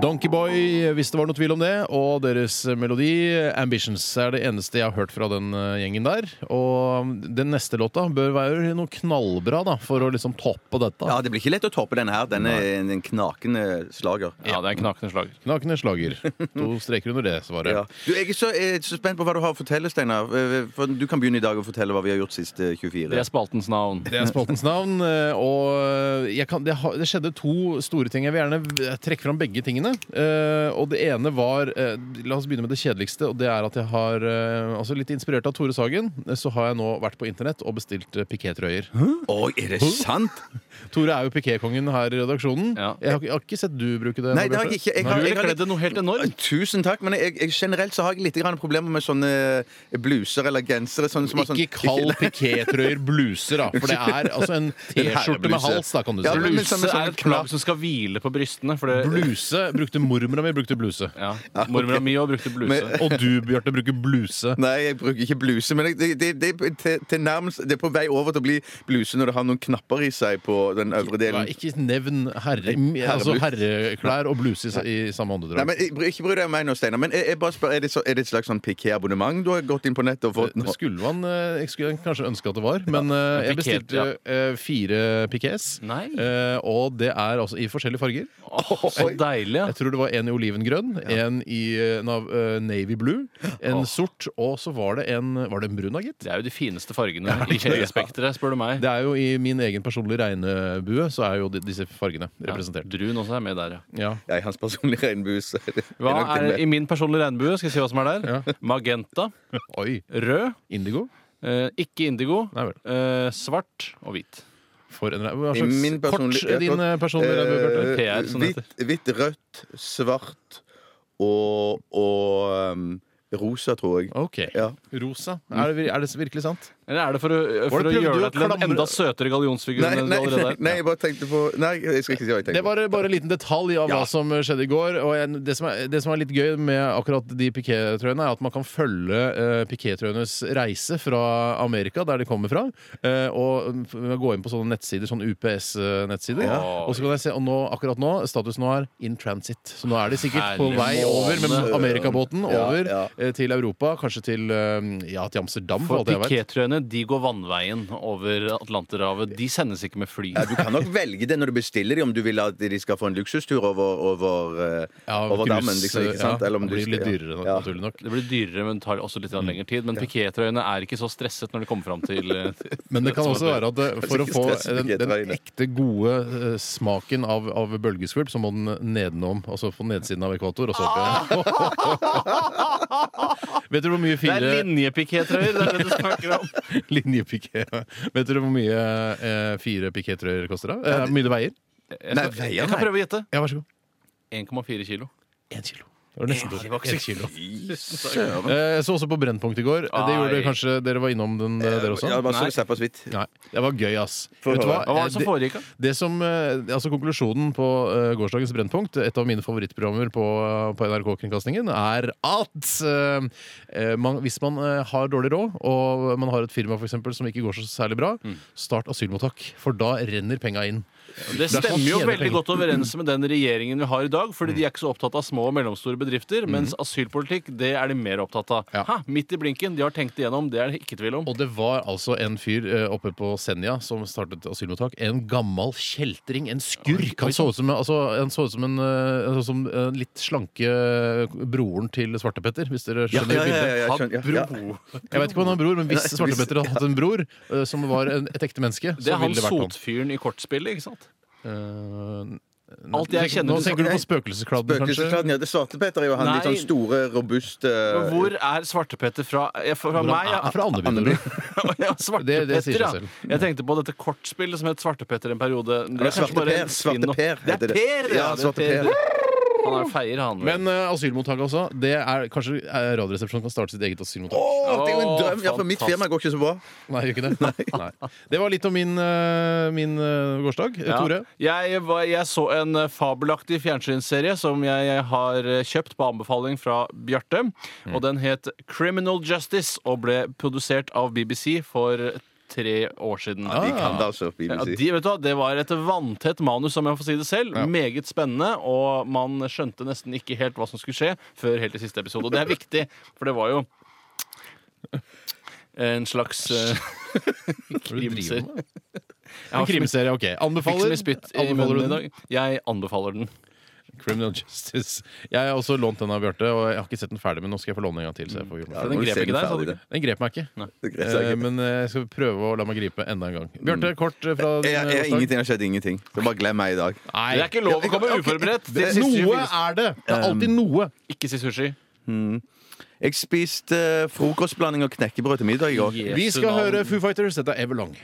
Donkeyboy, hvis det var noe tvil om det, og deres melodi Ambitions er det eneste jeg har hørt fra den eh, gjengen der. Og den neste låta bør være noe knallbra da, for å liksom toppe dette. Ja, Det blir ikke lett å toppe denne her. Den er en, en knakende slager. Ja, det er en knakende slager. Knakende slager. To streker under det svaret. Ja. Du, jeg er så, jeg er så spent på hva du har å fortelle, Steinar. Eh, for Du kan begynne i dag og fortelle hva vi har gjort eh, siste 24. Det er spaltens navn. Det er spaltens navn. eh, Og jeg kan, det, har- det skjedde to store ting. Jeg vil gjerne eh, trekke fram begge tingene. Eh, Og det ene var eh, La oss begynne med det kjedeligste. Og det er at jeg har, eh, altså litt inspirert av Tore Sagen, eh, så har jeg nå vært på internett og bestilt eh, pikétrøyer. Oi, er det sant?! Tore er jo pikékongen her i redaksjonen. Ja. Jeg, har, jeg har ikke sett du bruke det. Nei, det har jeg ikke. Jeg har, Du jeg ville har kledd det noe helt enormt. Tusen takk, men jeg, jeg, generelt så har jeg litt grann problemer med sånne eh, bluser eller gensere. Sånne som har sånn, Ikke kall pikétrøyer bluser, da. For det er altså en T-skjorte med herrebluse. hals, da, kan du si. Ja, men- men Bluse som en sånn er et plagg som skal hvile på brystene. For det, Bluse brukte mormora mi brukte bluse. Ja, Mormora mi òg brukte bluse. Men- Og du, Bjarte, bruker bluse. Nei, jeg bruker ikke bluse, men jeg- det, det, det, er til, til nærmest, det er på vei over til å bli bluse når det har noen knapper i seg på den øvre Nei, delen. ikke nevn herre, altså herreklær og bluse i, i samme Nei, åndedrag. men jeg- Ikke bry deg om meg nå, Steinar, men jeg, jeg bare spør, er det, så, er det et slags sånn piké-abonnement du har gått inn på nettet og fått? nå? Skulle man eh, Jeg skulle kanskje ønske at det var, men eh, jeg Piket, bestilte eh, fire pikés. Nei. Eh, Og det er altså i forskjellige farger. Åh, så deilig. Jeg tror det var en i olivengrønn, en i eh, nav- eh, navy blue, en sort, og så var det en Var det en brun, da, gitt? Det er jo de fineste fargene i kjedespekteret, spør du meg. Det er jo I min egen personlige regnbue så er jo di- disse fargene representert. Drun også er med der, ja. Ja. Ja, i hans personlige regnbue. så er det- Hva det nok er det i min personlige regnbue? Skal jeg si hva som er der? Magenta, Oi. rød, Indigo? eh, ikke indigo, Nei vel. eh, svart og hvit. For en regnbue. Hva I slags min kort personlige- ja, din kort. eh, personlige regnbue, Bjarte? Eh, PR, som det hvitt, hvitt, rødt, svart og, og um, rosa, tror jeg. Ok. Ja. Rosa. Er det, er det virkelig sant? Eller er det for å, eh, Var det for å prøvde gjøre du deg å til en klamre- enda søtere gallionsfigur Nei, enn du nei, allerede nei, er? nei, jeg bare tenkte på Nei, jeg skal ikke si hva jeg Det tenkte. var bare en liten detalj av hva som skjedde i går. Og jeg, det, som er, det som er litt gøy med akkurat de pikétrøyene, er at man kan følge uh, pikétrøyenes reise fra Amerika, der de kommer fra, eh, og f- gå inn på sånne nettsider, sånne UPS-nettsider. Ja. Og så kan jeg se, og nå, akkurat nå, status nå er in transit. Så nå er de sikkert på Herlig vei over med måne. Amerikabåten Ja, over ja. eh, til Europa, kanskje til, eh, ja, til Amsterdam, for For alt jeg vet. pikétrøyene de går vannveien over Atlanterhavet. De sendes ikke med fly. Ja, du kan nok velge det når du bestiller dem, om du vil at de skal få en luksustur over, over, eh, Ja, over cruise, dammen. Liksom, ikke sant? Ja, Eller om det du blir litt skal- dyrere, ja. naturlig nok. Det blir dyrere, men tar også litt lengre tid. Men pikétrøyene er ikke så stresset når de kommer fram til eh, Men det kan også være at eh, for å ikke få stress den, med den pikétrøyene. ekte gode eh, smaken av, av bølgeskvulp, så må den nedenom. Altså på nedsiden av ekvator og så opp igjen. Vet dere hvor mye Det er fire linjepikétrøyer! Det er det du snakker om. linjepiké Vet dere hvor mye eh, fire pikétrøyer koster? da? Eh, Hvor mye det veier? Jeg, Nei, skal, veier, jeg kan nei. prøve å gjette. Ja, vær så god. 1,4 kilo. Én kilo. Det var nesten Ja, to. det var ikke Én så- kilo. Søren. Eh, Jeg så også på Brennpunkt i går. Det gjorde Ai. dere kanskje Dere var innom den, eh, dere Ja, også? bare så sånn? Nei. det slipper så vidt. Nei. Det var gøy, ass. Få Vet du høre. Hva var det Eh, som Det- foregikk? da? Det som, eh, altså Konklusjonen på eh, gårsdagens Brennpunkt, et av mine favorittprogrammer på, eh, på NRK-kringkastingen, er at eh, eh, man, hvis man eh, har dårlig råd, og man har et firma for eksempel, som ikke går så særlig bra, start asylmottak, for da renner penga inn. Det Det er sånn stemmer jo tjener penger. veldig godt overens med den regjeringen vi har i dag, fordi de er ikke så opptatt av små og mellomstore bedrifter, mens asylpolitikk, det er de mer opptatt av. Ja. Hæ, midt i blinken, de har tenkt igjennom, det er det ikke tvil om. Og det var altså en fyr eh, oppe på Senja som startet asylmottak. En gammel kjeltring, en skurk. Han så ut som, altså, han så ut som en eh, altså, som, eh, litt slanke eh, broren til Svartepetter, hvis dere Ja, skjønner ja, ja, bildet. ja, jeg skjønner, ja, ja. Jeg vet ikke om han har en bror, men hvis Nei, hvis- Svartepetter hadde hatt en bror eh, som var en, et ekte menneske, Det så er han ville det vært sånn. han. sotfyren i kortspillet, ikke sant? Eh, nå Alt jeg tenker- kjenner Nå til- tenker du på spøkelseskladden, kanskje? Spøkelseskladden, ja. Det svarte Petter er jo han Nei. litt sånn store, robuste Men Hvor er Svartepetter fra? eh, Fra Hvor han meg? Eh, er fra Andeby. Andeby. Ja, Det- det sier seg Svartepetter, ja. selv. Jeg tenkte på dette kortspillet som het Svartepetter en periode. Det er kanskje Svarte bare en Per. Svarte spin-off. Per Det heter er det. Per! Ja, det er Svarte Per. Han er feier, han. Men eh, asylmottaket også. Det er, kanskje eh, Radioresepsjonen kan starte sitt eget asylmottak? Å, det er jo en Å, drøm! Ja, for mitt fantastisk. firma går ikke så bra. Nei, gjør ikke det? Nei. Det var litt om min, eh, min eh, gårsdag. Eh, Ja. Tore? Jeg, var, jeg så en eh, fabelaktig fjernsynsserie som jeg, jeg har eh, kjøpt på anbefaling fra Mm. Bjarte. Og den het Criminal Justice og ble produsert av BBC for tre år siden. Ja, de kan det altså, Ah. Ja, BBC. de, vet du, hva, det var et vanntett manus, om jeg får si det selv. Meget spennende, og man skjønte nesten ikke helt hva som skulle skje før helt i siste episode. Og det er viktig, for det var jo en slags eh, Hva er det du driver krimserie. med? Jeg har En krimserie, OK. Fikk så Anbefaler, mye spytt i anbefaler munnen du i den? dag. Jeg anbefaler den. Criminal Justice. Jeg har også lånt den av Bjarte, og jeg har ikke sett den ferdig, men nå skal jeg få låne en gang til. Så jeg får gjort Ja, meg den må du grep se ikke deg, sa ferdig, du det. den grep meg ikke. Det grep Eh, seg ikke. men eh, jeg skal prøve å la meg gripe enda en gang. Mm. Bjarte, kort eh, fra din Jeg, eh, jeg, jeg, årsdag. ingenting har skjedd. Ingenting. Så bare glem meg i dag. Nei. Det er ikke lov å komme uforberedt. til Det- siste Noe 24. er det! Det er alltid noe. Ikke si sushi. Jeg spiste eh, frokostblanding og knekkebrød til middag i går. Vi skal høre Foo Fighters. Dette er Everlong.